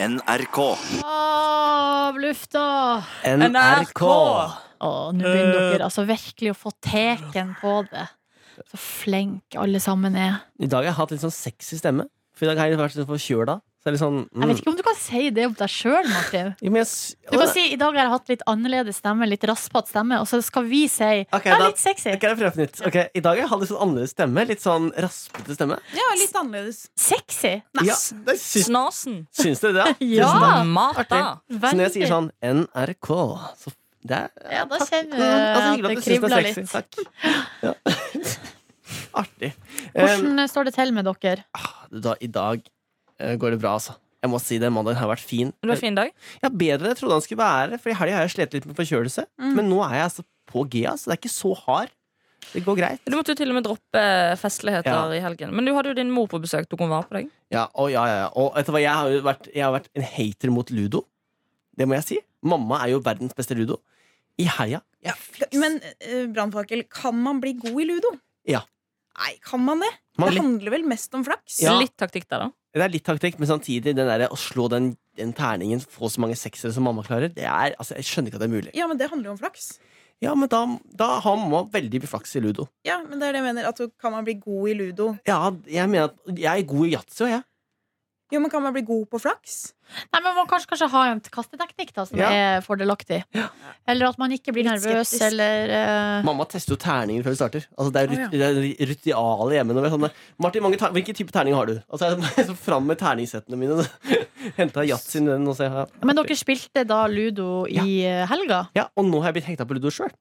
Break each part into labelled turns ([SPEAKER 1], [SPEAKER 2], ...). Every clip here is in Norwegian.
[SPEAKER 1] NRK.
[SPEAKER 2] Av lufta!
[SPEAKER 3] NRK.
[SPEAKER 2] Å, nå
[SPEAKER 3] Eh.
[SPEAKER 2] begynner dere altså virkelig å få teken på det. Så flinke alle sammen er.
[SPEAKER 3] I dag har jeg hatt litt sånn sexy stemme. For i dag har jeg vært litt forkjøla. Så jeg er litt sånn mm.
[SPEAKER 2] Jeg vet ikke om du kan si det om deg sjøl, Martin.
[SPEAKER 3] Jo, men jeg s-
[SPEAKER 2] Du kan si i dag har jeg hatt litt annerledes stemme, litt raspete stemme, og så skal vi si
[SPEAKER 3] Ok,
[SPEAKER 2] ja,
[SPEAKER 3] da-
[SPEAKER 2] litt sexy.
[SPEAKER 3] Ok, jeg prøver på nytt. Ok, I dag har jeg hatt litt sånn annerledes stemme. Litt sånn raspete stemme.
[SPEAKER 4] Ja, litt annerledes.
[SPEAKER 2] Sexy?
[SPEAKER 3] Ja, det syns,
[SPEAKER 5] Snasen.
[SPEAKER 3] syns dere det?
[SPEAKER 2] Ja.
[SPEAKER 5] Ah,
[SPEAKER 3] Tusen takk.
[SPEAKER 5] Mata.
[SPEAKER 3] Så når jeg sier sånn NRK, så det er
[SPEAKER 2] Ja, da
[SPEAKER 3] takk.
[SPEAKER 2] kjenner du
[SPEAKER 3] Ja, altså,
[SPEAKER 2] at
[SPEAKER 3] hyggelig
[SPEAKER 2] det
[SPEAKER 3] du syns
[SPEAKER 2] kribler
[SPEAKER 3] er sexy.
[SPEAKER 2] litt.
[SPEAKER 3] Takk. Ja. Artig. Um,
[SPEAKER 2] Hvordan står det til med dere?
[SPEAKER 3] da, I dag eh, går det bra, altså. Jeg må si det, Mandagen har vært fin.
[SPEAKER 5] Det var en fin dag.
[SPEAKER 3] Ja, Bedre enn jeg trodde han skulle være, for i helga har jeg slitt litt med forkjølelse.
[SPEAKER 4] Mm.
[SPEAKER 3] Men nå er jeg altså på G, altså. Det er ikke så hard. Det går greit.
[SPEAKER 5] Du måtte jo til og med droppe eh, festligheter
[SPEAKER 3] Ja.
[SPEAKER 5] i helgen. Men du hadde jo din mor på besøk. Tok hun vare på deg?
[SPEAKER 3] Ja, og, ja, ja, ja. og vet du hva, jeg har jo vært, jeg har vært en hater mot ludo. Det må jeg si. Mamma er jo verdens beste ludo. I helga jeg fikk
[SPEAKER 4] Men uh, brannfakkel, kan man bli god i ludo?
[SPEAKER 3] Ja.
[SPEAKER 4] Nei, kan man det?
[SPEAKER 3] Man
[SPEAKER 4] det
[SPEAKER 3] litt-
[SPEAKER 4] handler vel mest om flaks?
[SPEAKER 3] Ja.
[SPEAKER 5] Litt taktikk der, da.
[SPEAKER 3] Det er litt taktikk, men samtidig den der, å slå den, den terningen, få så mange seksere som mamma klarer, det er, altså, jeg skjønner ikke at det er mulig.
[SPEAKER 4] Ja, men det handler jo om flaks.
[SPEAKER 3] Ja, men da, da har mamma veldig mye flaks i ludo.
[SPEAKER 4] Ja, men det er det jeg mener. At du- kan man bli god i ludo?
[SPEAKER 3] Ja, jeg mener at jeg er god i yatzy, og jeg.
[SPEAKER 4] Jo, men kan man bli god på flaks?
[SPEAKER 2] Nei, men Man må kanskje, kanskje ha en kasteteknikk da, som
[SPEAKER 3] Ja.
[SPEAKER 2] er fordelaktig. Eller at man ikke blir
[SPEAKER 4] Litt
[SPEAKER 2] nervøs,
[SPEAKER 4] skeptisk.
[SPEAKER 2] eller eh,
[SPEAKER 3] Mamma tester jo terninger før vi starter. Altså, det er rut
[SPEAKER 4] Å,
[SPEAKER 3] det er ri- ritualet hjemme. Når vi er sånn, Martin, mange ter hvilken type terning har du? Altså, jeg er så fram med terningsettene mine. Henta yatzyen i den. Og, så, ja.
[SPEAKER 2] Men dere spilte da ludo i eh, helga?
[SPEAKER 3] Ja, og nå har jeg blitt hekta på ludo sjøl.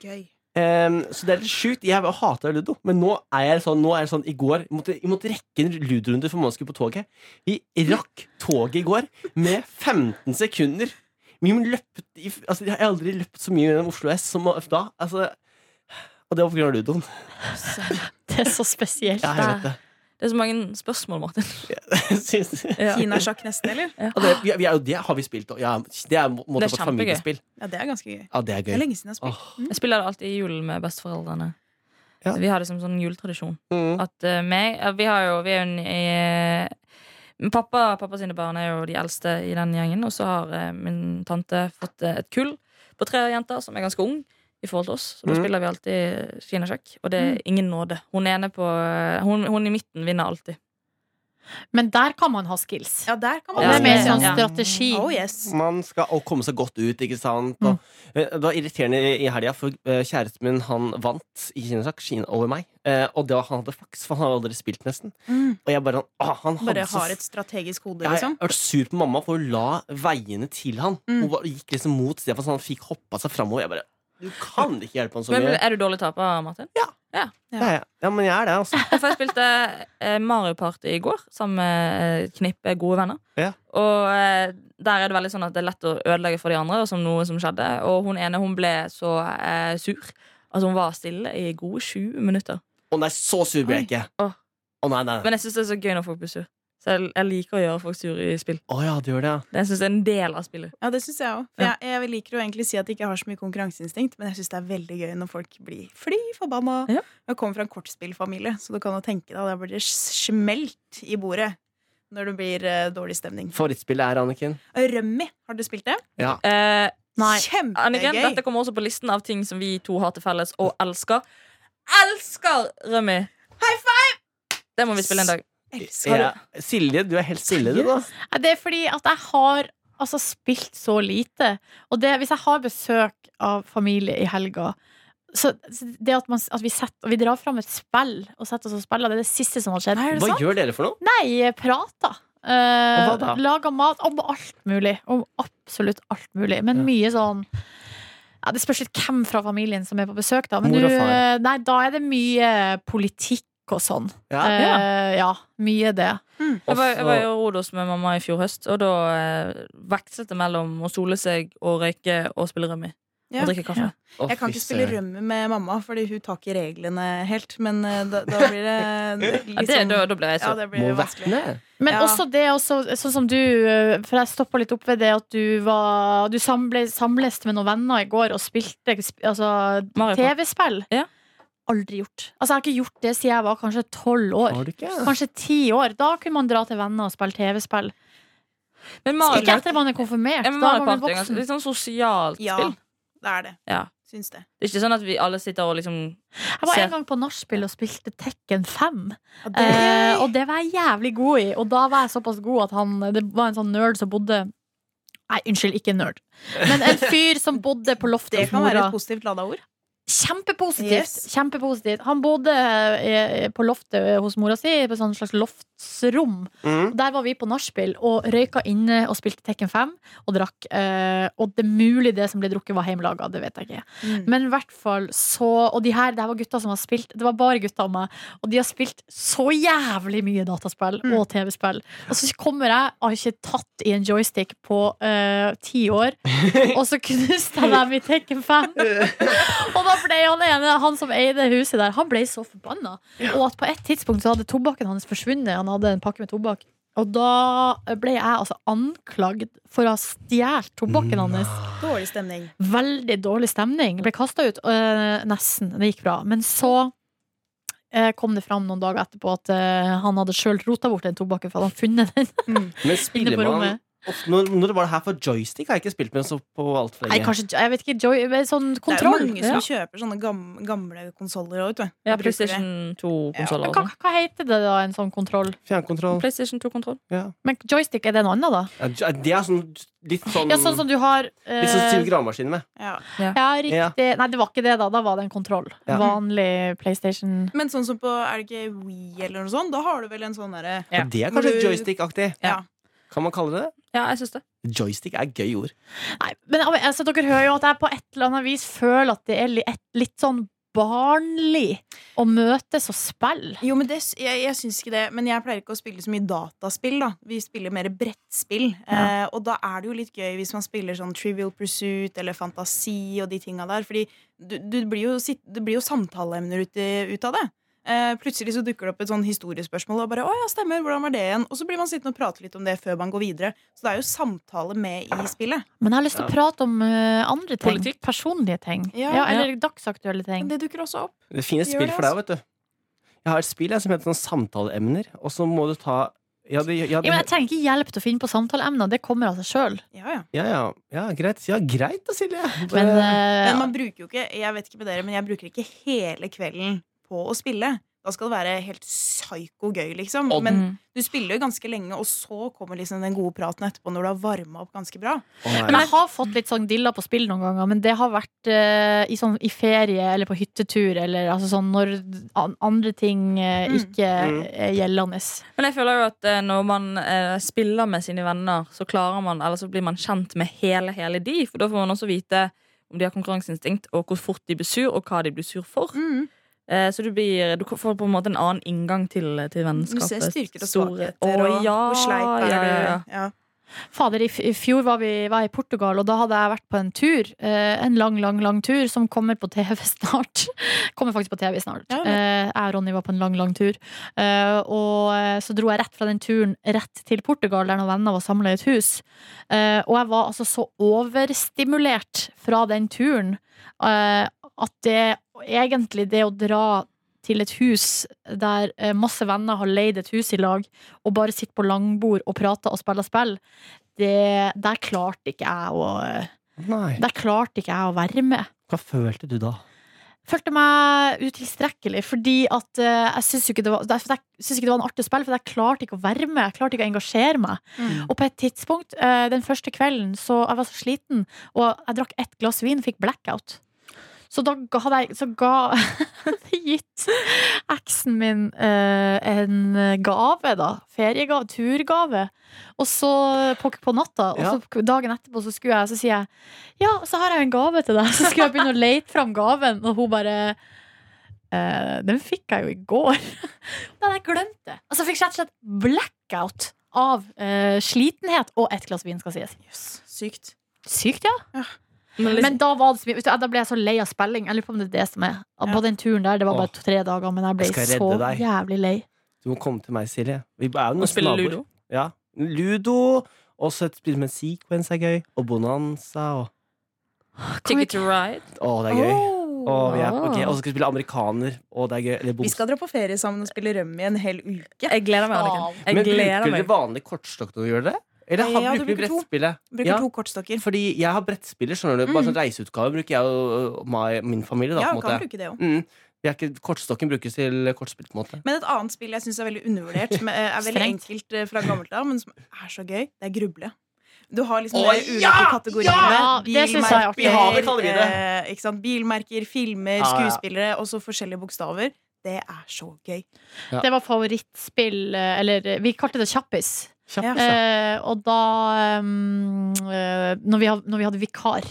[SPEAKER 4] Gøy.
[SPEAKER 3] så det er litt sjukt. Jeg hater ludo, men nå er jeg sånn, nå er jeg sånn i går jeg måtte, jeg måtte rekke en ludorunde for man skulle på toget. Vi rakk toget i går med 15 sekunder. Vi må løpt, i- altså, jeg har aldri løpt så mye gjennom Oslo S som da. Altså, og det var på grunn av ludoen.
[SPEAKER 2] Det er så spesielt.
[SPEAKER 3] Ja, jeg vet det.
[SPEAKER 5] Det er så mange spørsmål, Martin.
[SPEAKER 3] Mhm. Syns-
[SPEAKER 5] Ja.
[SPEAKER 4] Kinasjakk nesten, eller?
[SPEAKER 3] Og det, vi, vi er jo, det har vi spilt. og Ja, det er må- måte på
[SPEAKER 5] Det er
[SPEAKER 3] et
[SPEAKER 5] kjempegøy.
[SPEAKER 3] familiespill.
[SPEAKER 4] Ja, det er ganske gøy.
[SPEAKER 3] Ja, det er
[SPEAKER 4] Det er
[SPEAKER 3] gøy.
[SPEAKER 4] lenge siden jeg har spilt.
[SPEAKER 3] Åh.
[SPEAKER 5] Jeg spiller det alltid i julen med besteforeldrene.
[SPEAKER 3] Ja.
[SPEAKER 5] Vi har det som sånn juletradisjon.
[SPEAKER 3] Mm.
[SPEAKER 5] At eh, meg, ja, vi, har jo, vi er jo en eh, min Pappa, pappa sine barn er jo de eldste i den gjengen. Og så har eh, min tante fått eh, et kull på tre jenter som er ganske ung i forhold til oss. Så da
[SPEAKER 3] Mm.
[SPEAKER 5] spiller vi alltid kinasjakk. Og det er ingen nåde. Hun ene på eh, Hun, hun i midten vinner alltid.
[SPEAKER 2] Men der kan man ha skills.
[SPEAKER 4] Ja, der kan
[SPEAKER 2] Og det
[SPEAKER 5] Ja.
[SPEAKER 4] man
[SPEAKER 2] er mer sånn
[SPEAKER 5] Ja.
[SPEAKER 2] strategi.
[SPEAKER 4] Oh yes.
[SPEAKER 3] Man skal å, komme seg godt ut, ikke sant? Og, eh, Det var irriterende i- i helga, for eh, kjæresten min han vant i kinasjakk Kina over meg. Eh, Og det var han hadde flaks, for han hadde aldri spilt, nesten.
[SPEAKER 4] Mm.
[SPEAKER 3] Og jeg bare ah, han hadde
[SPEAKER 4] Bare
[SPEAKER 3] så
[SPEAKER 4] har et strategisk hode,
[SPEAKER 3] jeg har
[SPEAKER 4] liksom.
[SPEAKER 3] vært sur på mamma for hun la veiene til han.
[SPEAKER 4] Mm.
[SPEAKER 3] Hun bare gikk liksom mot Stefan, så han fikk hoppa seg framover. Jeg bare Du kan ikke hjelpe han så
[SPEAKER 5] Men,
[SPEAKER 3] mye.
[SPEAKER 5] er du dårlig taper, Martin?
[SPEAKER 3] Ja, ja. ja, men jeg er det, altså.
[SPEAKER 5] For jeg spilte eh, Mario Party i går sammen med et knippe gode venner.
[SPEAKER 3] Ja.
[SPEAKER 5] Og eh, der er det veldig sånn at det er lett å ødelegge for de andre, og som noe som skjedde. Og hun ene hun ble så eh, sur. Altså Hun var stille i gode 20 minutter.
[SPEAKER 3] Å nei, så sur ble jeg ikke. Å
[SPEAKER 5] Åh.
[SPEAKER 3] nei, nei. nei.
[SPEAKER 5] Men jeg syns det er så gøy når folk blir sur. Så jeg, jeg liker å gjøre folk sur i spill.
[SPEAKER 3] Å ja, du gjør det, ja.
[SPEAKER 5] Det jeg synes er en del av spillet.
[SPEAKER 4] Ja, det syns jeg òg.
[SPEAKER 5] Ja.
[SPEAKER 4] Jeg, jeg liker å egentlig si at jeg ikke har så mye konkurranseinstinkt, men jeg syns det er veldig gøy når folk blir fly forbanna.
[SPEAKER 5] Ja.
[SPEAKER 4] Jeg kommer fra en kortspillfamilie, så du kan jo tenke deg, da blir det smelt i bordet når det blir eh, dårlig stemning.
[SPEAKER 3] Favorittspillet er Anniken.
[SPEAKER 4] Rømmi, har dere spilt det?
[SPEAKER 3] Ja.
[SPEAKER 5] Eh,
[SPEAKER 2] Nei.
[SPEAKER 5] Anniken, dette
[SPEAKER 4] Kjempegøy!
[SPEAKER 5] kommer også på listen av ting som vi to har til felles og elsker. Elsker Rømmi!
[SPEAKER 4] High
[SPEAKER 5] five! Det må vi spille en dag.
[SPEAKER 4] Elsker
[SPEAKER 3] Ja.
[SPEAKER 4] det.
[SPEAKER 3] Silje, du er helt stille, du, da.
[SPEAKER 2] Nei, Det er fordi at jeg har altså, spilt så lite. Og det, hvis jeg har besøk av familie i helga så så det at, man, at vi, setter, vi drar fram et spill og setter oss og spiller, det er det siste som har skjedd.
[SPEAKER 4] Nei, er det
[SPEAKER 3] Hva
[SPEAKER 4] sant?
[SPEAKER 3] gjør dere for noe?
[SPEAKER 2] Nei, prata. Uh,
[SPEAKER 3] Om hva da?
[SPEAKER 2] Laga mat. Om alt mulig. Om absolutt alt mulig. Men
[SPEAKER 3] Ja.
[SPEAKER 2] mye sånn ja, Det spørs litt hvem fra familien som er på besøk, da. Men
[SPEAKER 3] Mor og
[SPEAKER 2] du,
[SPEAKER 3] far.
[SPEAKER 2] eh, nei, da er det mye politikk og sånn.
[SPEAKER 3] Ja.
[SPEAKER 2] Eh, ja, mye det.
[SPEAKER 5] Jeg var, jeg var i Rodos med mamma i fjor høst, og da eh, vekslet det mellom å sole seg og røyke og spille rømmi.
[SPEAKER 4] Ja.
[SPEAKER 5] Og drikke kaffe.
[SPEAKER 4] Jeg kan ikke spille rømmi med mamma, fordi hun tar ikke reglene helt. Men eh, da, da blir det
[SPEAKER 5] Ja, det,
[SPEAKER 4] litt sånn
[SPEAKER 5] da, da ble jeg
[SPEAKER 4] Ja,
[SPEAKER 5] så
[SPEAKER 4] det
[SPEAKER 3] Må
[SPEAKER 4] blir vanskelig.
[SPEAKER 3] verne.
[SPEAKER 2] Men
[SPEAKER 4] Ja.
[SPEAKER 2] også det, også, sånn som du eh, For jeg stoppa litt opp ved det at du var Du samble, samles med noen venner i går og spilte sp- altså,
[SPEAKER 5] Mario Kart.
[SPEAKER 2] TV-spill.
[SPEAKER 5] Ja.
[SPEAKER 2] Aldri gjort. Altså, jeg har ikke gjort det siden jeg var kanskje tolv år.
[SPEAKER 3] Har du ikke?
[SPEAKER 2] Kanskje ti år. Da kunne man dra til venner og spille TV-spill.
[SPEAKER 5] Men
[SPEAKER 2] Ikke
[SPEAKER 5] Mario,
[SPEAKER 2] etter man er konfirmert.
[SPEAKER 5] ja, men
[SPEAKER 2] Da
[SPEAKER 5] Mario
[SPEAKER 2] er man vel
[SPEAKER 5] Party er ganske-
[SPEAKER 2] voksen.
[SPEAKER 5] litt sånn sosialt
[SPEAKER 4] Ja,
[SPEAKER 5] spill.
[SPEAKER 4] det er det.
[SPEAKER 5] Ja.
[SPEAKER 4] Syns det.
[SPEAKER 5] Det er ikke sånn at vi alle sitter og liksom
[SPEAKER 2] Jeg var
[SPEAKER 5] Se.
[SPEAKER 2] en gang på nachspiel og spilte Tekken 5.
[SPEAKER 4] Ja, det
[SPEAKER 2] Eh, og det var jeg jævlig god i. Og da var jeg såpass god at han Det var en sånn nerd som bodde Nei, unnskyld, ikke nerd. Men en fyr som bodde på loftet
[SPEAKER 4] det
[SPEAKER 2] hos
[SPEAKER 4] kan være
[SPEAKER 2] mora.
[SPEAKER 4] et positivt lada ord.
[SPEAKER 2] Kjempepositivt!
[SPEAKER 4] Yes.
[SPEAKER 2] Kjempepositivt. Han bodde eh, på loftet hos mora si, på et sånt slags loftsrom.
[SPEAKER 3] Mm.
[SPEAKER 2] Der var vi på nachspiel og røyka inne og spilte Tekken 5 og drakk. Eh, og det er mulig det som ble drukket, var hjemmelaga. Det vet jeg ikke. Men i hvert fall så Og de her, det her var gutter som har spilt Det var bare gutter og meg Og de har spilt så jævlig mye dataspill
[SPEAKER 4] Mm.
[SPEAKER 2] og tv-spill Og så kommer jeg, har ikke tatt i en joystick på eh, ti år Og så knuste jeg dem i Tekken 5 Og da ble han ene, han som eide huset der Han ble så forbannet Og at på et tidspunkt så hadde tobakken hans forsvunnet Han hadde en pakke med tobakk Og da ble jeg altså anklagd For å ha stjålet tobakken hans
[SPEAKER 4] Dårlig stemning.
[SPEAKER 2] Veldig dårlig stemning. Ble kasta ut. øh, nesten. Det gikk bra. Men så øh, kom det fram noen dager etterpå at øh, han hadde sjøl rota bort den tobakken, for han hadde funnet den
[SPEAKER 3] Men
[SPEAKER 2] inne
[SPEAKER 3] spiller
[SPEAKER 2] på
[SPEAKER 3] man
[SPEAKER 2] rommet.
[SPEAKER 3] ofte, når, når var det her for joystick? Har jeg ikke spilt med så på alt for
[SPEAKER 2] Nei,
[SPEAKER 3] lenge.
[SPEAKER 2] kanskje Jeg vet ikke. Joy, men sånn kontroll.
[SPEAKER 4] Det er jo mange som kjøper sånne gam gamle konsoller òg, vet du.
[SPEAKER 5] Ja,
[SPEAKER 4] Og bruker det.
[SPEAKER 5] PlayStation 2-konsoller
[SPEAKER 2] Men
[SPEAKER 5] og
[SPEAKER 2] hva,
[SPEAKER 5] sånn.
[SPEAKER 2] hva heter det, da, en sånn kontroll?
[SPEAKER 3] Fjernkontroll.
[SPEAKER 5] PlayStation 2-kontroll.
[SPEAKER 2] Men joystick, er det en annen, da?
[SPEAKER 3] Ja, jo- Det er sånn litt sånn,
[SPEAKER 2] Ja, sånn som du har øh,
[SPEAKER 3] Litt sånn Steve Gravemaskin med.
[SPEAKER 4] Ja.
[SPEAKER 2] Ja, riktig. Nei, det var ikke det, da. Da var det en kontroll.
[SPEAKER 3] Ja.
[SPEAKER 2] Vanlig PlayStation.
[SPEAKER 4] Men sånn som på Er det ikke Wii eller noe sånt? Da har du vel en sånn derre
[SPEAKER 5] Ja.
[SPEAKER 3] Og Det er
[SPEAKER 4] Når
[SPEAKER 3] kanskje
[SPEAKER 4] du-
[SPEAKER 3] joystick-aktig.
[SPEAKER 4] Ja.
[SPEAKER 3] Kan man kalle det det?
[SPEAKER 5] Ja, jeg syns det.
[SPEAKER 3] Joystick er et gøy ord.
[SPEAKER 2] Nei, men altså, dere hører jo at jeg på et eller annet vis føler at det er li- et, litt sånn barnlig å møtes og spille.
[SPEAKER 4] Jo, men det, s- jeg, jeg syns ikke det. Men jeg pleier ikke å spille så mye dataspill, da. Vi spiller mer brettspill. Eh, og da er det jo litt gøy hvis man spiller sånn Trivial Pursuit eller Fantasi og de tinga der. Fordi du, du blir jo, sitt- det blir jo samtaleemner ut, i- ut av det. Eh, plutselig så dukker det opp et sånn historiespørsmål, og bare 'Å ja, stemmer. Hvordan var det igjen?' Og så blir man sittende og prate litt om det før man går videre. Så det er jo samtale med i spillet.
[SPEAKER 2] Men jeg har lyst til å prate om eh, andre ting.
[SPEAKER 5] Politikk.
[SPEAKER 2] Personlige ting. Ja,
[SPEAKER 4] Ja.
[SPEAKER 2] eller dagsaktuelle
[SPEAKER 4] Men
[SPEAKER 2] ting.
[SPEAKER 4] det dukker også opp.
[SPEAKER 3] Det finnes
[SPEAKER 4] Gjør
[SPEAKER 3] spill
[SPEAKER 4] det, altså.
[SPEAKER 3] for deg, vet du. Jeg har et spill jeg, som heter sånn samtaleemner, og så må du ta ja, det, ja,
[SPEAKER 2] Ja,
[SPEAKER 3] det,
[SPEAKER 2] men jeg trenger ikke hjelp til å finne på samtaleemner. Det kommer av seg sjøl.
[SPEAKER 4] Ja, ja.
[SPEAKER 3] ja, ja, ja, greit. Ja, greit da, Silje.
[SPEAKER 2] Men eh,
[SPEAKER 4] Men man bruker jo ikke Jeg vet ikke med dere, men jeg bruker ikke hele kvelden på å spille. Da skal det være helt psyko gøy, liksom.
[SPEAKER 3] Og-
[SPEAKER 4] Men
[SPEAKER 5] Mm.
[SPEAKER 4] du spiller jo ganske lenge, og så kommer liksom den gode praten etterpå når du har varma opp ganske bra.
[SPEAKER 3] Å, nei.
[SPEAKER 2] men jeg har fått litt sånn dilla på spill noen ganger, men det har vært eh, i, sånn, i ferie eller på hyttetur eller altså sånn når an andre ting eh,
[SPEAKER 4] Mm.
[SPEAKER 2] ikke
[SPEAKER 3] Mm.
[SPEAKER 2] er gjeldende.
[SPEAKER 5] Men jeg føler jo at eh, når man eh, spiller med sine venner, så klarer man, eller så blir man kjent med hele, hele de. For da får man også vite om de har konkurranseinstinkt, og hvor fort de blir sur, og hva de blir sur for. Eh, så du, blir, du får på en måte en annen inngang til, til
[SPEAKER 4] Mm. Du
[SPEAKER 5] vennskapet.
[SPEAKER 4] ser styrker og
[SPEAKER 5] Store-
[SPEAKER 4] svakheter,
[SPEAKER 5] Å,
[SPEAKER 4] og
[SPEAKER 5] ja,
[SPEAKER 4] hvor sleip er
[SPEAKER 5] ja, ja, ja.
[SPEAKER 4] du? Ja.
[SPEAKER 2] Fader, i, f i fjor var, vi, var jeg i Portugal, og da hadde jeg vært på en tur. Eh, en lang, lang lang tur som kommer på TV snart. kommer faktisk på TV snart.
[SPEAKER 4] Ja, men-
[SPEAKER 2] eh, jeg og Ronny var på en lang, lang tur. Eh, og eh, så dro jeg rett fra den turen rett til Portugal, der noen venner var samla i et hus. Eh, og jeg var altså så overstimulert fra den turen eh, at det egentlig det å dra til et hus der eh, masse venner har leid et hus i lag, og bare sitter på langbord og prater og spiller spill, det, der klarte ikke jeg å
[SPEAKER 3] nei.
[SPEAKER 2] Der klarte ikke jeg å være med.
[SPEAKER 3] Hva følte du da?
[SPEAKER 2] Følte meg utilstrekkelig, fordi at eh, jeg syns jo ikke det var jeg synes ikke det var en artig spill, for jeg klarte ikke å være med. Jeg klarte ikke å engasjere meg. Og på et tidspunkt, eh, den første kvelden, så jeg var så sliten, og jeg drakk ett glass vin, fikk blackout. Så da ga jeg så ga, hadde jeg gitt eksen min eh, en gave, da. Feriegave, turgave. Og så på, på natta, og
[SPEAKER 3] Ja.
[SPEAKER 2] så dagen etterpå så skulle jeg, så sier jeg ja, så har jeg en gave til deg. Så skulle jeg begynne å lete fram gaven, og hun bare «Eh, Den fikk jeg jo i går. Da hadde jeg glemt det. Altså, jeg fikk rett og slett blackout av eh, slitenhet og ett glass vin, skal sies.
[SPEAKER 4] Jøss, sykt.
[SPEAKER 2] Sykt, ja.
[SPEAKER 5] Men, liksom,
[SPEAKER 2] Men da, var det så mye, vet du, da ble jeg så lei av spilling. Jeg lurer på om det er det som er. At
[SPEAKER 4] Ja.
[SPEAKER 2] På den turen der, det var bare
[SPEAKER 3] Åh.
[SPEAKER 2] tre dager, men jeg ble
[SPEAKER 3] Jeg skal
[SPEAKER 2] så
[SPEAKER 3] redde deg.
[SPEAKER 2] jævlig lei.
[SPEAKER 3] Du må komme til meg, Silje. Vi er jo
[SPEAKER 5] å
[SPEAKER 3] nesten
[SPEAKER 5] spille
[SPEAKER 3] naboer.
[SPEAKER 5] ludo.
[SPEAKER 3] Ja. Ludo. Også et spill med sequence er gøy. Og Bonanza. Og...
[SPEAKER 5] Ticket to ride.
[SPEAKER 3] Å, det er gøy.
[SPEAKER 4] Åh.
[SPEAKER 3] Og vi er,
[SPEAKER 5] Ah.
[SPEAKER 3] ok, Altså, og så skal vi spille amerikaner. Og det er gøy. Eller
[SPEAKER 4] Vi
[SPEAKER 3] boms.
[SPEAKER 4] skal dra på ferie sammen og spille rømme i en hel uke.
[SPEAKER 5] Jeg gleder meg, Anniken.
[SPEAKER 3] Men
[SPEAKER 5] Jeg
[SPEAKER 3] bruker
[SPEAKER 5] gleder
[SPEAKER 3] dere
[SPEAKER 5] meg.
[SPEAKER 3] vanlig kortstokk når dere gjør det? Eller har,
[SPEAKER 4] Ja, du
[SPEAKER 3] bruker vi
[SPEAKER 4] bruker to.
[SPEAKER 3] brettspillet?
[SPEAKER 4] Bruker
[SPEAKER 3] Ja.
[SPEAKER 4] to kortstokker.
[SPEAKER 3] Fordi jeg har brettspiller, skjønner du. Bare sånn reiseutgave bruker jeg og og my, min familie. Da,
[SPEAKER 4] Ja,
[SPEAKER 3] på en
[SPEAKER 4] kan
[SPEAKER 3] måte.
[SPEAKER 4] bruke det også.
[SPEAKER 3] Mm. Vi er ikke, kortstokken brukes til kortspill, på en måte.
[SPEAKER 4] Men et annet spill jeg syns er veldig undervurdert, men eh, er veldig
[SPEAKER 2] Strengt.
[SPEAKER 4] enkelt eh, fra gammelt av, men som er så gøy, det er gruble. Du har liksom
[SPEAKER 3] Å,
[SPEAKER 4] de ulike
[SPEAKER 3] ja!
[SPEAKER 4] kategoriene.
[SPEAKER 2] Ja! Det synes jeg er artig.
[SPEAKER 3] Bilhaver kaller vi det.
[SPEAKER 4] eh, ikke sant? Bilmerker, filmer,
[SPEAKER 3] Ja, ja.
[SPEAKER 4] skuespillere og så forskjellige bokstaver. Det er så gøy.
[SPEAKER 3] Ja.
[SPEAKER 2] Det var favorittspill, eh, eller eh, vi kalte det kjappis.
[SPEAKER 3] Kjapt, da.
[SPEAKER 2] Eh, og da um, eh, når, vi hadde, når vi hadde vikar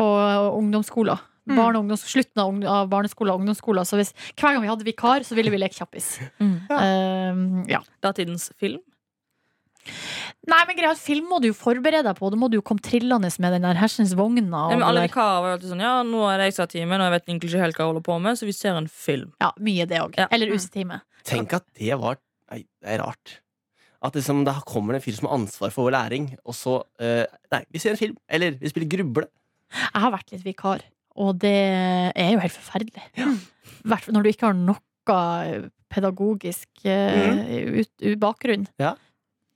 [SPEAKER 2] på ungdomsskolen
[SPEAKER 4] Mm.
[SPEAKER 2] Barne- og ungdoms, slutten av, ung- av barneskolen og ungdomsskolen. Så hvis, hver gang vi hadde vikar, så ville vi leke kjappis.
[SPEAKER 5] Mm.
[SPEAKER 2] Eh, ja.
[SPEAKER 5] Datidens film.
[SPEAKER 2] Nei, men greia, er at film må du jo forberede deg på. Da må du jo komme trillende med den der hersens vogna.
[SPEAKER 5] Nei,
[SPEAKER 2] Og
[SPEAKER 5] men alle
[SPEAKER 2] det der.
[SPEAKER 5] vikarer var jo alltid sånn Ja, nå er det ekstra time, og jeg vet egentlig ikke helt hva jeg holder på med, så vi ser en film.
[SPEAKER 2] Ja, Mm. mye det òg.
[SPEAKER 5] Ja.
[SPEAKER 2] Eller usetime.
[SPEAKER 3] Tenk at det var Nei, det er rart. At liksom, da kommer det en fyr som har ansvar for vår læring, og så eh, Nei, vi ser en film. Eller vi spiller gruble.
[SPEAKER 2] Jeg har vært litt vikar, og det er jo helt forferdelig. Hvert fall når du ikke har noe pedagogisk eh, ut, u- bakgrunn.
[SPEAKER 3] Ja.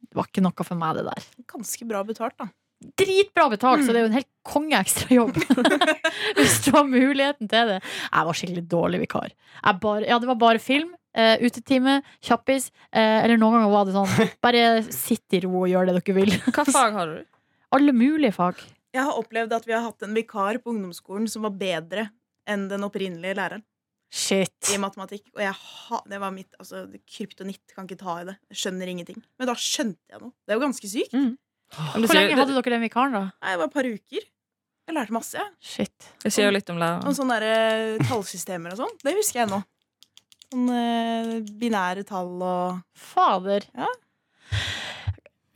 [SPEAKER 2] Det var ikke noe for meg, det der.
[SPEAKER 4] Ganske bra betalt, da.
[SPEAKER 2] Dritbra betalt,
[SPEAKER 4] Mm.
[SPEAKER 2] så det er jo en helt konge ekstrajobb. Hvis du har muligheten til det. Jeg var skikkelig dårlig vikar. Jeg bare, ja, det var bare film. eh, utetime, kjappis. eh, eller noen ganger var det sånn Bare sitt i ro og gjør det dere vil.
[SPEAKER 5] Hva fag har du?
[SPEAKER 2] Alle mulige fag.
[SPEAKER 4] Jeg har opplevd at vi har hatt en vikar på ungdomsskolen som var bedre enn den opprinnelige læreren
[SPEAKER 2] Shit.
[SPEAKER 4] i matematikk. Og jeg ha, det var mitt altså, kryptonitt. Kan ikke ta i det. Jeg skjønner ingenting. Men da skjønte jeg noe. Det er jo ganske sykt.
[SPEAKER 5] Men
[SPEAKER 2] Hvor
[SPEAKER 5] du sier-
[SPEAKER 2] lenge hadde dere den vikaren, da?
[SPEAKER 4] Nei, Det var et par uker. Jeg lærte masse. jeg.
[SPEAKER 2] Shit.
[SPEAKER 5] Det sier jo litt om
[SPEAKER 4] Om
[SPEAKER 5] læreren.
[SPEAKER 4] sånne der, eh, tallsystemer og sånn. Det husker jeg nå. Sånne eh, binære tall og
[SPEAKER 2] Fader.
[SPEAKER 4] Ja.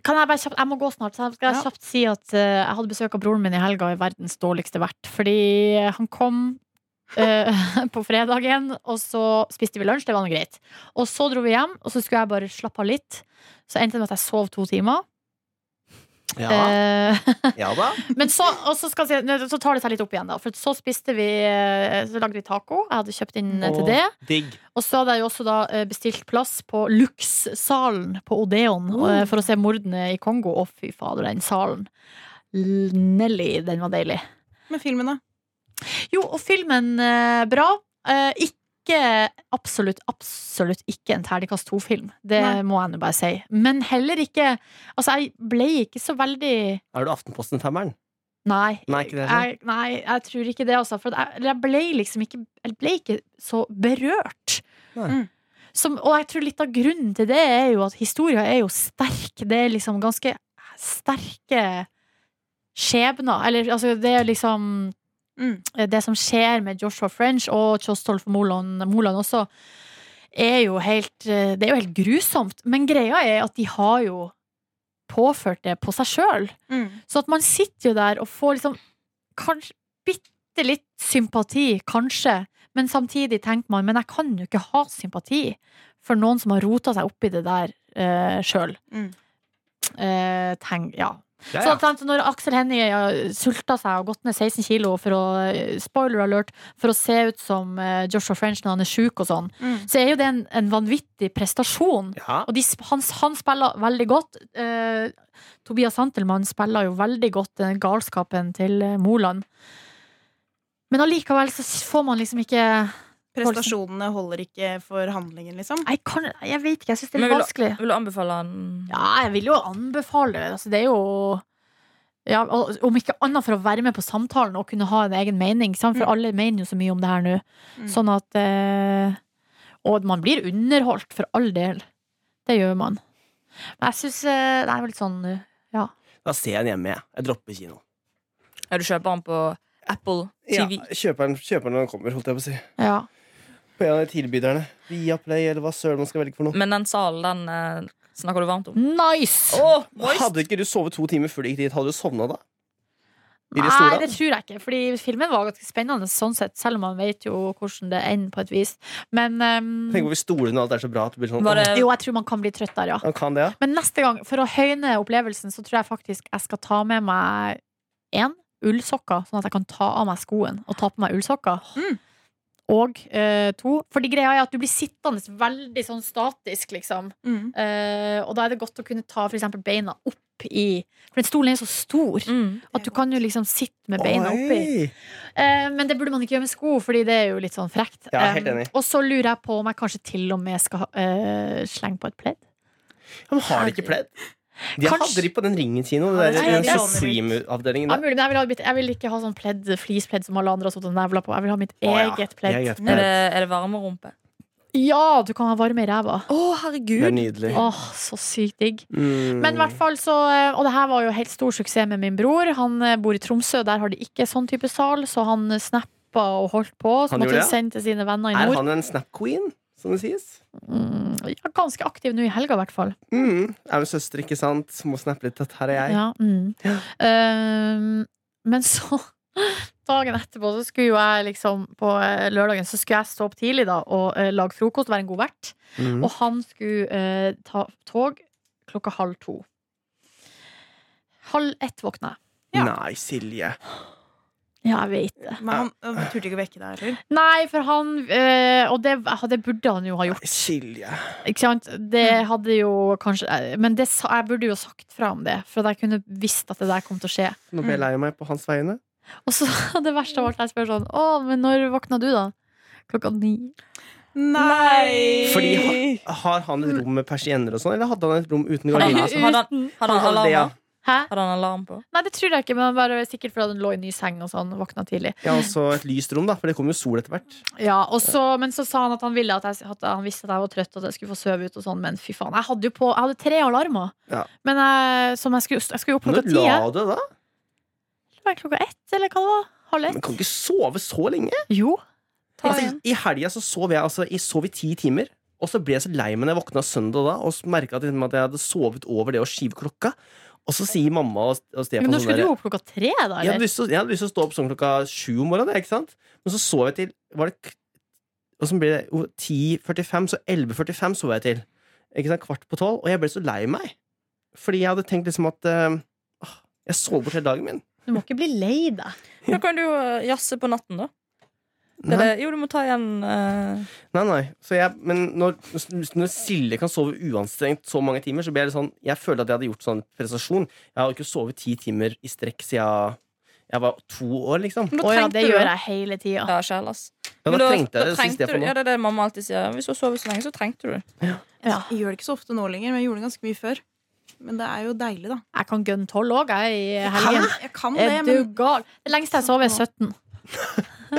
[SPEAKER 2] Kan jeg bare kjapt Jeg må gå snart, så jeg skal
[SPEAKER 4] Ja.
[SPEAKER 2] kjapt si at eh, jeg hadde besøk av broren min i helga i verdens dårligste vert. Fordi han kom eh, på fredagen, og så spiste vi lunsj. Det var noe greit. Og så dro vi hjem, og så skulle jeg bare slappe av litt. Så endte det med at jeg sov to timer.
[SPEAKER 3] Ja,
[SPEAKER 2] Eh,
[SPEAKER 3] ja da.
[SPEAKER 2] Men så, og så, skal jeg, si- nei, så tar det seg litt opp igjen, da. For så spiste vi eh, Så lagde vi taco. Jeg hadde kjøpt inn eh,
[SPEAKER 3] Åh,
[SPEAKER 2] til det.
[SPEAKER 3] Digg.
[SPEAKER 2] Og så hadde jeg jo også da eh, bestilt plass på Lux-salen på Odeon eh, for å se mordene i Kongo. Å, fy fader, den salen. L- Nelly, den var deilig.
[SPEAKER 4] med filmen, da.
[SPEAKER 2] Jo, og filmen eh, bra. Eh, ikke absolutt, absolutt ikke en terningkast to-film. Det
[SPEAKER 4] Nei.
[SPEAKER 2] må jeg nå bare si. Men heller ikke Altså, jeg ble ikke så veldig
[SPEAKER 3] Er du Aftenposten-femmeren?
[SPEAKER 2] Nei.
[SPEAKER 3] Nei, ikke det heller.
[SPEAKER 2] Jeg, nei, jeg tror ikke det, altså. For jeg, jeg ble liksom ikke, jeg ble ikke så berørt.
[SPEAKER 3] Nei.
[SPEAKER 4] Mm.
[SPEAKER 2] Som, og jeg tror litt av grunnen til det er jo at historia er jo sterk. Det er liksom ganske sterke skjebner. Eller altså, det er liksom
[SPEAKER 4] Mm.
[SPEAKER 2] det som skjer med Joshua French og Kjostolf og Moland, Moland også, er jo helt eh, Det er jo helt grusomt. Men greia er at de har jo påført det på seg sjøl.
[SPEAKER 4] Mm.
[SPEAKER 2] Så at man sitter jo der og får liksom kanskje bitte litt sympati, kanskje, men samtidig tenker man men jeg kan jo ikke ha sympati for noen som har rota seg oppi det der uh, sjøl.
[SPEAKER 4] Mm.
[SPEAKER 2] Eh, tenk, ja.
[SPEAKER 3] Ja,
[SPEAKER 2] Så
[SPEAKER 3] ja.
[SPEAKER 2] at, sant, når Aksel Hennie har sulta seg og gått ned 16 kilo for å, eh, spoiler alert, for å se ut som eh, Joshua French når han er sjuk og sånn,
[SPEAKER 4] Mm.
[SPEAKER 2] så er jo det en, en vanvittig prestasjon.
[SPEAKER 3] ja.
[SPEAKER 2] Og de, sp- han, han spiller veldig godt. Eh, Tobias Santelmann spiller jo veldig godt den galskapen til eh, Moland. Men allikevel så s- får man liksom ikke
[SPEAKER 4] Prestasjonene holder ikke for handlingen, liksom.
[SPEAKER 2] Jeg, kan, jeg vet ikke, jeg syns det er
[SPEAKER 5] Men
[SPEAKER 2] litt
[SPEAKER 5] vil du-
[SPEAKER 2] vanskelig.
[SPEAKER 5] Vil du anbefale han
[SPEAKER 2] Ja, jeg vil jo anbefale det. Altså, det er jo ja, og- Om ikke annet for å være med på samtalen og kunne ha en egen mening. Sant? For
[SPEAKER 4] Mm.
[SPEAKER 2] alle mener jo så mye om det her nå.
[SPEAKER 4] Mm.
[SPEAKER 2] Sånn at eh, Og man blir underholdt, for all del. Det gjør man. Men jeg syns eh, det er vel litt sånn eh,
[SPEAKER 3] Da ser jeg den hjemme, jeg. Jeg dropper kino.
[SPEAKER 5] Ja, du kjøper han på Apple TV.
[SPEAKER 3] kjøper den, kjøper den når den kommer, holdt jeg på å si.
[SPEAKER 2] eh, Ja.
[SPEAKER 3] På en av de tilbyderne. Viaplay, eller hva søren man skal velge
[SPEAKER 2] Mm,
[SPEAKER 3] for noe.
[SPEAKER 5] Men den salen, den eh, snakker du
[SPEAKER 3] Mm.
[SPEAKER 5] varmt om.
[SPEAKER 2] Nice!
[SPEAKER 5] Åh, moist!
[SPEAKER 3] Hadde ikke du sovet to timer før du gikk dit, hadde du sovna da? I de
[SPEAKER 2] Nei,
[SPEAKER 3] stolene?
[SPEAKER 2] det tror jeg ikke. Fordi filmen var ganske spennende sånn sett, selv om man vet jo hvordan det ender på et vis. Men ehm,
[SPEAKER 3] Tenk hvorfor stolene og alt er så bra at du blir sånn
[SPEAKER 5] Var det
[SPEAKER 3] «Åh,
[SPEAKER 2] jo, jeg tror man kan bli trøtt der, ja.
[SPEAKER 3] Han kan det, ja.
[SPEAKER 2] Men neste gang, for å høyne opplevelsen, så tror jeg faktisk jeg skal ta med meg én ullsokker, sånn at jeg kan ta av meg skoen og ta på meg ullsokker.
[SPEAKER 4] Mm.
[SPEAKER 2] Og eh, to. Fordi greia er at du blir sittende veldig sånn statisk, liksom.
[SPEAKER 4] Mm.
[SPEAKER 2] Eh, og da er det godt å kunne ta for eksempel beina opp opp i For den stolen er så stor
[SPEAKER 5] Mm.
[SPEAKER 2] at du kan jo liksom sitte med beina oppi. Eh, men det burde man ikke gjøre med sko, Fordi det er jo litt sånn frekt.
[SPEAKER 3] Ja, helt enig.
[SPEAKER 2] Eh, og så lurer jeg på om jeg kanskje til og med skal eh, slenge på et pledd.
[SPEAKER 3] Men har de ikke pledd? De
[SPEAKER 2] Kanskje-
[SPEAKER 3] hadde de på den ringen kino.
[SPEAKER 4] Ja,
[SPEAKER 3] Den
[SPEAKER 4] det
[SPEAKER 3] der-
[SPEAKER 2] er
[SPEAKER 3] den
[SPEAKER 2] det.
[SPEAKER 3] Supreme-avdelingen
[SPEAKER 2] Ja,
[SPEAKER 3] der.
[SPEAKER 2] mulig, men jeg, vil ha mitt, jeg vil ikke ha sånn pledd, flispledd som alle andre har sittet og nevla på. Jeg vil ha mitt
[SPEAKER 3] Å, ja.
[SPEAKER 2] eget pledd.
[SPEAKER 3] Eget
[SPEAKER 5] Er
[SPEAKER 3] pledd.
[SPEAKER 5] det, er det varmerumpe?
[SPEAKER 2] Ja, du kan ha varme i ræva.
[SPEAKER 5] Å,
[SPEAKER 3] Det er
[SPEAKER 5] herregud!
[SPEAKER 3] nydelig.
[SPEAKER 2] Åh, så sykt digg.
[SPEAKER 3] Mm.
[SPEAKER 2] Men i hvert fall så eh, Og det her var jo helt stor suksess med min bror. Han eh, bor i Tromsø, der har de ikke sånn type sal, så han eh, snappa og holdt på. Så
[SPEAKER 3] Han
[SPEAKER 2] måtte
[SPEAKER 3] gjorde
[SPEAKER 2] han sende
[SPEAKER 3] det?
[SPEAKER 2] til sine venner i
[SPEAKER 3] Er
[SPEAKER 2] nord.
[SPEAKER 3] han en snap queen, som det sies?
[SPEAKER 2] Mm, ja, ganske aktiv nå i helga, i hvert fall.
[SPEAKER 3] Mm. Er jo søster, ikke sant? Må snappe litt at her er jeg.
[SPEAKER 2] Ja, mm. Ehm, men så Dagen etterpå så skulle jo jeg liksom På eh, lørdagen så skulle jeg stå opp tidlig da og eh, lage frokost og være en god vert.
[SPEAKER 3] Mm.
[SPEAKER 2] Og han skulle eh, ta tog klokka halv to. Halv ett våkna jeg.
[SPEAKER 4] ja.
[SPEAKER 3] Nei, Silje.
[SPEAKER 2] Ja, jeg vet det.
[SPEAKER 4] Men han øh, turte ikke å vekke deg, eller?
[SPEAKER 2] Nei, for han eh, Og det, det burde han jo ha gjort.
[SPEAKER 3] Silje.
[SPEAKER 2] Ikke sant? Det hadde jo kanskje eh, Men det, sa- jeg burde jo sagt fra om det, for at jeg kunne visst at det der kom til å skje.
[SPEAKER 3] Nå ble jeg lei meg på hans vegne.
[SPEAKER 2] Og så det verste av alt, jeg spør sånn Å, men når våkna du, da? Klokka ni.
[SPEAKER 4] Nei!
[SPEAKER 3] Fordi ha- Har han et rom med persienner og sånn, eller hadde han et rom uten
[SPEAKER 5] Hadde han,
[SPEAKER 3] gardiner?
[SPEAKER 5] hadde han, hadde han
[SPEAKER 3] det, ja.
[SPEAKER 5] alarm?
[SPEAKER 2] Hæ?
[SPEAKER 5] Hadde han alarm på?
[SPEAKER 2] Nei, det tror jeg ikke, men han bare sikkert fordi han lå i ny seng og sånn, våkna tidlig.
[SPEAKER 3] ja, og så et lyst rom, da, for det kommer jo sol etter hvert.
[SPEAKER 2] Ja, og så, Men så sa han at han ville at, jeg, at han visste at jeg var trøtt og at jeg skulle få sove ut og sånn, men fy faen. Jeg hadde jo på Jeg hadde tre alarmer
[SPEAKER 3] Ja.
[SPEAKER 2] Men jeg, som jeg skulle, jeg skulle jo opp
[SPEAKER 3] Men
[SPEAKER 2] klokka
[SPEAKER 3] du
[SPEAKER 2] ti.
[SPEAKER 3] la
[SPEAKER 2] jeg.
[SPEAKER 3] det da?
[SPEAKER 2] Det var Klokka ett, eller hva det var? Halv
[SPEAKER 3] Men
[SPEAKER 2] ett?
[SPEAKER 3] kan ikke sove så lenge?
[SPEAKER 2] Jo.
[SPEAKER 5] Ta
[SPEAKER 3] Altså,
[SPEAKER 5] igjen.
[SPEAKER 3] I helga så sov jeg altså, jeg sov i ti timer. Og så ble jeg så lei meg når jeg våkna søndag da og merka at, liksom, at jeg hadde sovet over det å skyve klokka. Og så sier mamma og, og Stefan
[SPEAKER 2] Men når
[SPEAKER 3] sånn
[SPEAKER 2] skulle
[SPEAKER 3] der-
[SPEAKER 2] du opp klokka tre, da?
[SPEAKER 3] jeg hadde,
[SPEAKER 2] Eller?
[SPEAKER 3] lyst til, å- jeg hadde lyst til å stå opp sånn klokka sju om morgenen, ikke sant? Men så sov jeg til Var det k- Og så ble det jo 10.45, så 11.45 sov jeg til. Ikke sant? Kvart på tolv. Og jeg ble så lei meg. Fordi jeg hadde tenkt liksom at eh, åh, Jeg sov bort hele dagen min.
[SPEAKER 2] Du må ikke bli lei deg.
[SPEAKER 5] Da kan du jo eh, jazze på natten, da. Det er
[SPEAKER 3] Nei,
[SPEAKER 5] det, jo, du må ta igjen eh,
[SPEAKER 3] nei. nei. Så jeg, men når, når Silje kan sove uanstrengt så mange timer, så blir jeg litt sånn Jeg føler at jeg hadde gjort sånn prestasjon. Jeg har jo ikke sovet ti timer i strekk siden jeg var to år, liksom.
[SPEAKER 5] men da
[SPEAKER 2] Å ja,
[SPEAKER 5] trengte
[SPEAKER 2] det
[SPEAKER 5] du
[SPEAKER 2] gjør jeg hele tida.
[SPEAKER 5] Ja, sjæl, ass.
[SPEAKER 3] Ja,
[SPEAKER 5] Men
[SPEAKER 3] da trengte jeg det.
[SPEAKER 5] da
[SPEAKER 3] siste jeg
[SPEAKER 5] trengte
[SPEAKER 3] får
[SPEAKER 5] du,
[SPEAKER 3] nå.
[SPEAKER 5] ja, det er det mamma alltid sier. Hvis du har sovet så lenge, så trengte du.
[SPEAKER 2] Ja.
[SPEAKER 4] Jeg gjør det ikke så ofte nå lenger, men jeg gjorde det ganske mye før. Men det er jo deilig, da.
[SPEAKER 2] Jeg kan gunne tolv òg, jeg, i helgen.
[SPEAKER 4] Jeg kan det,
[SPEAKER 2] Er du
[SPEAKER 4] men
[SPEAKER 2] gal? Det lengste jeg sov, er 17.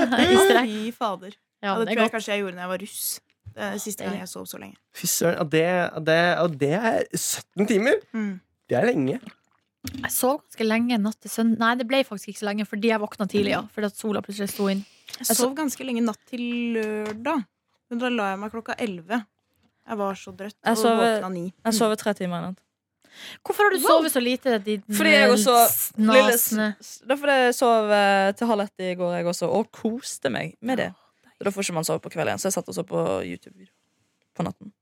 [SPEAKER 2] I strekk.
[SPEAKER 4] Fy fader.
[SPEAKER 2] Ja,
[SPEAKER 4] Ja,
[SPEAKER 2] det
[SPEAKER 4] det
[SPEAKER 2] er
[SPEAKER 4] tror jeg
[SPEAKER 2] godt.
[SPEAKER 4] kanskje jeg gjorde når jeg var russ. Det er siste gang jeg sov så lenge.
[SPEAKER 3] Fy søren, og det, og det, og det er 17 timer!
[SPEAKER 4] Mm.
[SPEAKER 3] Det er lenge.
[SPEAKER 2] Jeg sov ganske lenge natt til søndag. Nei, det ble faktisk ikke så lenge, fordi jeg våkna tidlig. Ja. Fordi at sola plutselig sto inn.
[SPEAKER 4] Jeg sov ganske lenge natt til lørdag. Men da la jeg meg klokka 11. Jeg var så drøtt.
[SPEAKER 5] Jeg
[SPEAKER 4] Og
[SPEAKER 5] sov-
[SPEAKER 4] våkna ni.
[SPEAKER 5] Jeg sover tre timer i natt.
[SPEAKER 2] Hvorfor har du sovet så lite? Din
[SPEAKER 5] Fordi jeg også Lille, s-
[SPEAKER 2] nasne
[SPEAKER 5] s- det er fordi jeg sov eh, til halv ett i går, jeg også, og koste meg med det. Så Da får ikke man sove på kvelden, så jeg satt og så på YouTube-video på natten.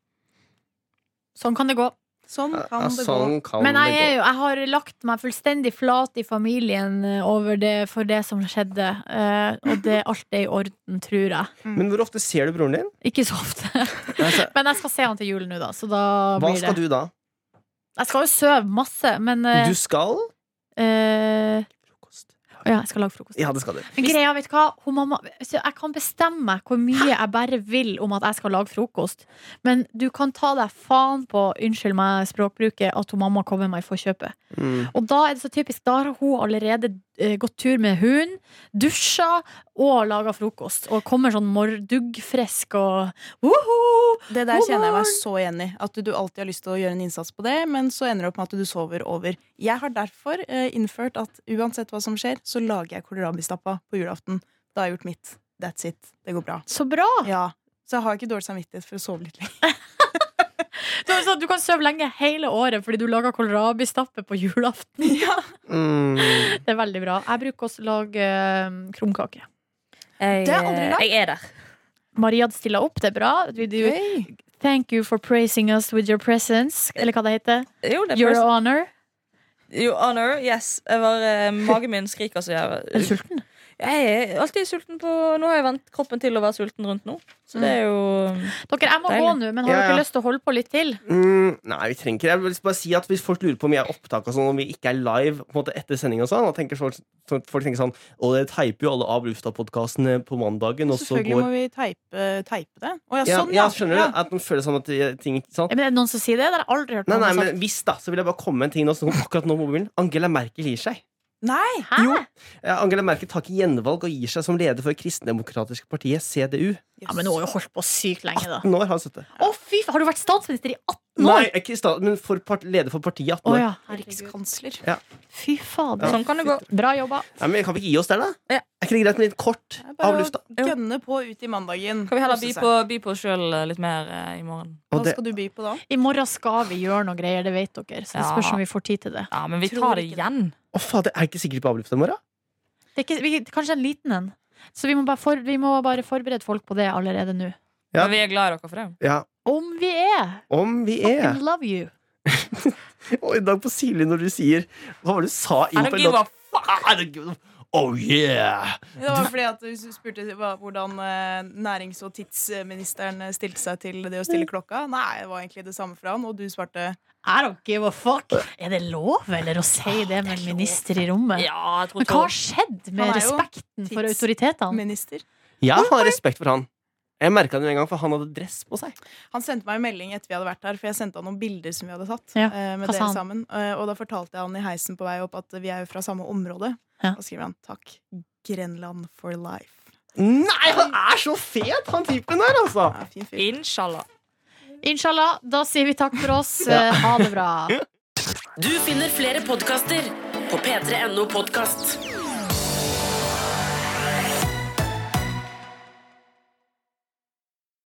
[SPEAKER 2] Sånn kan det gå.
[SPEAKER 4] Sånn kan
[SPEAKER 3] Ja,
[SPEAKER 4] det
[SPEAKER 3] sånn
[SPEAKER 4] gå.
[SPEAKER 3] kan
[SPEAKER 2] Men jeg,
[SPEAKER 3] det
[SPEAKER 2] er
[SPEAKER 3] gå.
[SPEAKER 2] jo, jeg har lagt meg fullstendig flat i familien eh, over det, for det som skjedde. Eh, og det, alt er i orden, tror jeg.
[SPEAKER 3] Men hvor ofte ser du broren din?
[SPEAKER 2] Ikke så ofte.
[SPEAKER 3] Altså,
[SPEAKER 2] Men jeg skal se han til jul nå, da. Så da
[SPEAKER 3] hva
[SPEAKER 2] blir det.
[SPEAKER 3] skal du da?
[SPEAKER 2] Jeg skal jo sove masse, men eh,
[SPEAKER 3] Du skal
[SPEAKER 2] eh, å ja, jeg skal lage frokost.
[SPEAKER 3] Ja, det skal du.
[SPEAKER 2] Men greia, vet du hva? Hun mamma, så jeg kan bestemme meg hvor mye jeg bare vil om at jeg skal lage frokost. Men du kan ta deg faen på, unnskyld meg språkbruket, at hun mamma kommer meg i forkjøpet.
[SPEAKER 3] Mm.
[SPEAKER 2] Og da er det så typisk. Da har hun allerede eh, gått tur med hunden, dusja og laga frokost. Og kommer sånn mor- duggfrisk og woho!
[SPEAKER 4] Det der kjenner jeg meg så igjen i. At du alltid har lyst til å gjøre en innsats på det, men så ender det opp med at du sover over. Jeg har derfor eh, innført at uansett hva som skjer, så lager jeg kålrabistappa på julaften. Da har jeg gjort mitt. That's it. Det går bra.
[SPEAKER 2] Så bra!
[SPEAKER 4] Ja. Så jeg har ikke dårlig samvittighet for å sove litt lenger.
[SPEAKER 2] Du, så du kan sove lenge hele året fordi du lager kålrabistappe på julaften.
[SPEAKER 3] Mm.
[SPEAKER 2] Det er veldig bra. Jeg bruker også å lage eh, krumkake.
[SPEAKER 5] Jeg, eh,
[SPEAKER 4] Det har jeg aldri lagd.
[SPEAKER 5] jeg er der.
[SPEAKER 2] Maria hadde stilla opp, det er bra. Du, du, Thank you for praising us with your presence. Eller hva det heter.
[SPEAKER 5] Jo, det er
[SPEAKER 2] Your
[SPEAKER 5] person-
[SPEAKER 2] honor.
[SPEAKER 5] Your honor, yes. Jeg var, eh, magen min skriker så jeg
[SPEAKER 2] Er du sulten?
[SPEAKER 5] Jeg er alltid sulten på Nå har jeg vant kroppen til å være sulten rundt nå. Så det er jo Mm.
[SPEAKER 2] Dere, jeg må
[SPEAKER 5] Deilig.
[SPEAKER 2] gå nå, men har
[SPEAKER 3] Ja, ja.
[SPEAKER 2] dere lyst til å holde på litt til?
[SPEAKER 3] Mm, nei, vi trenger ikke det. Jeg vil bare si at Hvis folk lurer på om vi er opptak og sånn, om vi ikke er live på en måte etter sending, og sånn, da tenker folk, så- folk tenker sånn Og dere teiper jo alle av lufta-podkastene på mandagen, og så
[SPEAKER 4] Selvfølgelig
[SPEAKER 3] går
[SPEAKER 4] må vi teipe, teipe det. Å ja,
[SPEAKER 3] ja,
[SPEAKER 4] sånn,
[SPEAKER 3] ja, skjønner du? At man føler sånn at de- ting ikke sant?
[SPEAKER 2] Ja, men er det noen som sier det? Det har jeg aldri hørt
[SPEAKER 3] Nei,
[SPEAKER 2] noen
[SPEAKER 3] nei,
[SPEAKER 2] som
[SPEAKER 3] men hvis da, så vil jeg bare komme med en ting nå, sånn akkurat nå på mobilen. Angela Merkel gir seg.
[SPEAKER 4] Nei!
[SPEAKER 2] Hæ?
[SPEAKER 3] Jo. Eh, Angela Merkel tar ikke gjenvalg og gir seg som leder for kristendemokratiske partiet, CDU.
[SPEAKER 2] Ja, men nå har jo holdt på sykt lenge, da.
[SPEAKER 3] 18 år har hun sittet.
[SPEAKER 2] Å, fy faen! Har du vært statsminister i 18 år?
[SPEAKER 3] Nei, ikke sta- men for part, leder for partiet i
[SPEAKER 2] Å
[SPEAKER 3] 18 år.
[SPEAKER 2] ja. Herregud.
[SPEAKER 4] Rikskansler.
[SPEAKER 2] Fy fader.
[SPEAKER 5] Sånn kan det gå.
[SPEAKER 2] Bra jobba.
[SPEAKER 3] Nei, men Kan vi ikke gi oss der, da?
[SPEAKER 5] Ja.
[SPEAKER 3] Er ikke det greit med litt kort
[SPEAKER 4] Det er
[SPEAKER 3] av
[SPEAKER 4] Bare
[SPEAKER 3] lufta?
[SPEAKER 4] å gønne på ut i mandagen.
[SPEAKER 5] Kan vi heller by
[SPEAKER 4] Kose seg.
[SPEAKER 5] på, by på oss sjøl litt mer eh, i morgen?
[SPEAKER 3] Og
[SPEAKER 4] Hva
[SPEAKER 3] det-
[SPEAKER 4] skal du by på da?
[SPEAKER 2] I morgen skal vi gjøre noe greier, det vet dere. Så det
[SPEAKER 5] Ja.
[SPEAKER 2] spørs om vi får tid til det.
[SPEAKER 5] Ja, men vi
[SPEAKER 4] Tror
[SPEAKER 5] tar det
[SPEAKER 4] ikke det.
[SPEAKER 5] igjen.
[SPEAKER 3] Å, fader, er jeg ikke sikkert på avluft i morgen?
[SPEAKER 2] det er ikke, vi, kanskje en liten en. Så vi må, bare for, vi må bare forberede folk på det allerede nå.
[SPEAKER 3] Ja.
[SPEAKER 5] Men vi er glad i dere for det.
[SPEAKER 3] Ja,
[SPEAKER 2] Om vi er!
[SPEAKER 3] om vi
[SPEAKER 2] Fucking
[SPEAKER 3] er.
[SPEAKER 2] love you.
[SPEAKER 3] Og i dag på Silje, når du sier Hva var det du sa?
[SPEAKER 5] I don't give a
[SPEAKER 3] fuck! Oh yeah!
[SPEAKER 4] Det var fordi at du spurte hva, hvordan eh, nærings- og tidsministeren eh, stilte seg til det å stille klokka. Nei, det var egentlig det samme fra han, og du svarte
[SPEAKER 2] I don't give a fuck. Er det lov, eller, å si Ah, det med en minister i rommet?
[SPEAKER 5] Ja, jeg tror
[SPEAKER 2] Men hva har skjedd med
[SPEAKER 4] Han er jo
[SPEAKER 2] respekten for
[SPEAKER 4] tids-
[SPEAKER 2] autoritetene?
[SPEAKER 4] minister.
[SPEAKER 3] Jeg har respekt for han. Jeg merka det en gang, for han hadde dress på seg.
[SPEAKER 4] Han sendte meg en melding etter vi hadde vært her, for jeg sendte han noen bilder som vi hadde tatt.
[SPEAKER 2] Ja,
[SPEAKER 4] eh, med
[SPEAKER 2] hva sa
[SPEAKER 4] dere
[SPEAKER 2] han?
[SPEAKER 4] sammen Eh, Og da fortalte jeg han i heisen på vei opp at vi er jo fra samme område.
[SPEAKER 2] Ja.
[SPEAKER 4] Og skriver han 'Takk, Grenland for life'.
[SPEAKER 3] Nei, han er så fet, han typen der, altså!
[SPEAKER 4] Ja, fin fyr.
[SPEAKER 5] Inshallah.
[SPEAKER 2] Inshallah, da sier vi takk for oss. Eh, Ha det bra.
[SPEAKER 1] Du finner flere podkaster på p3.no podkast.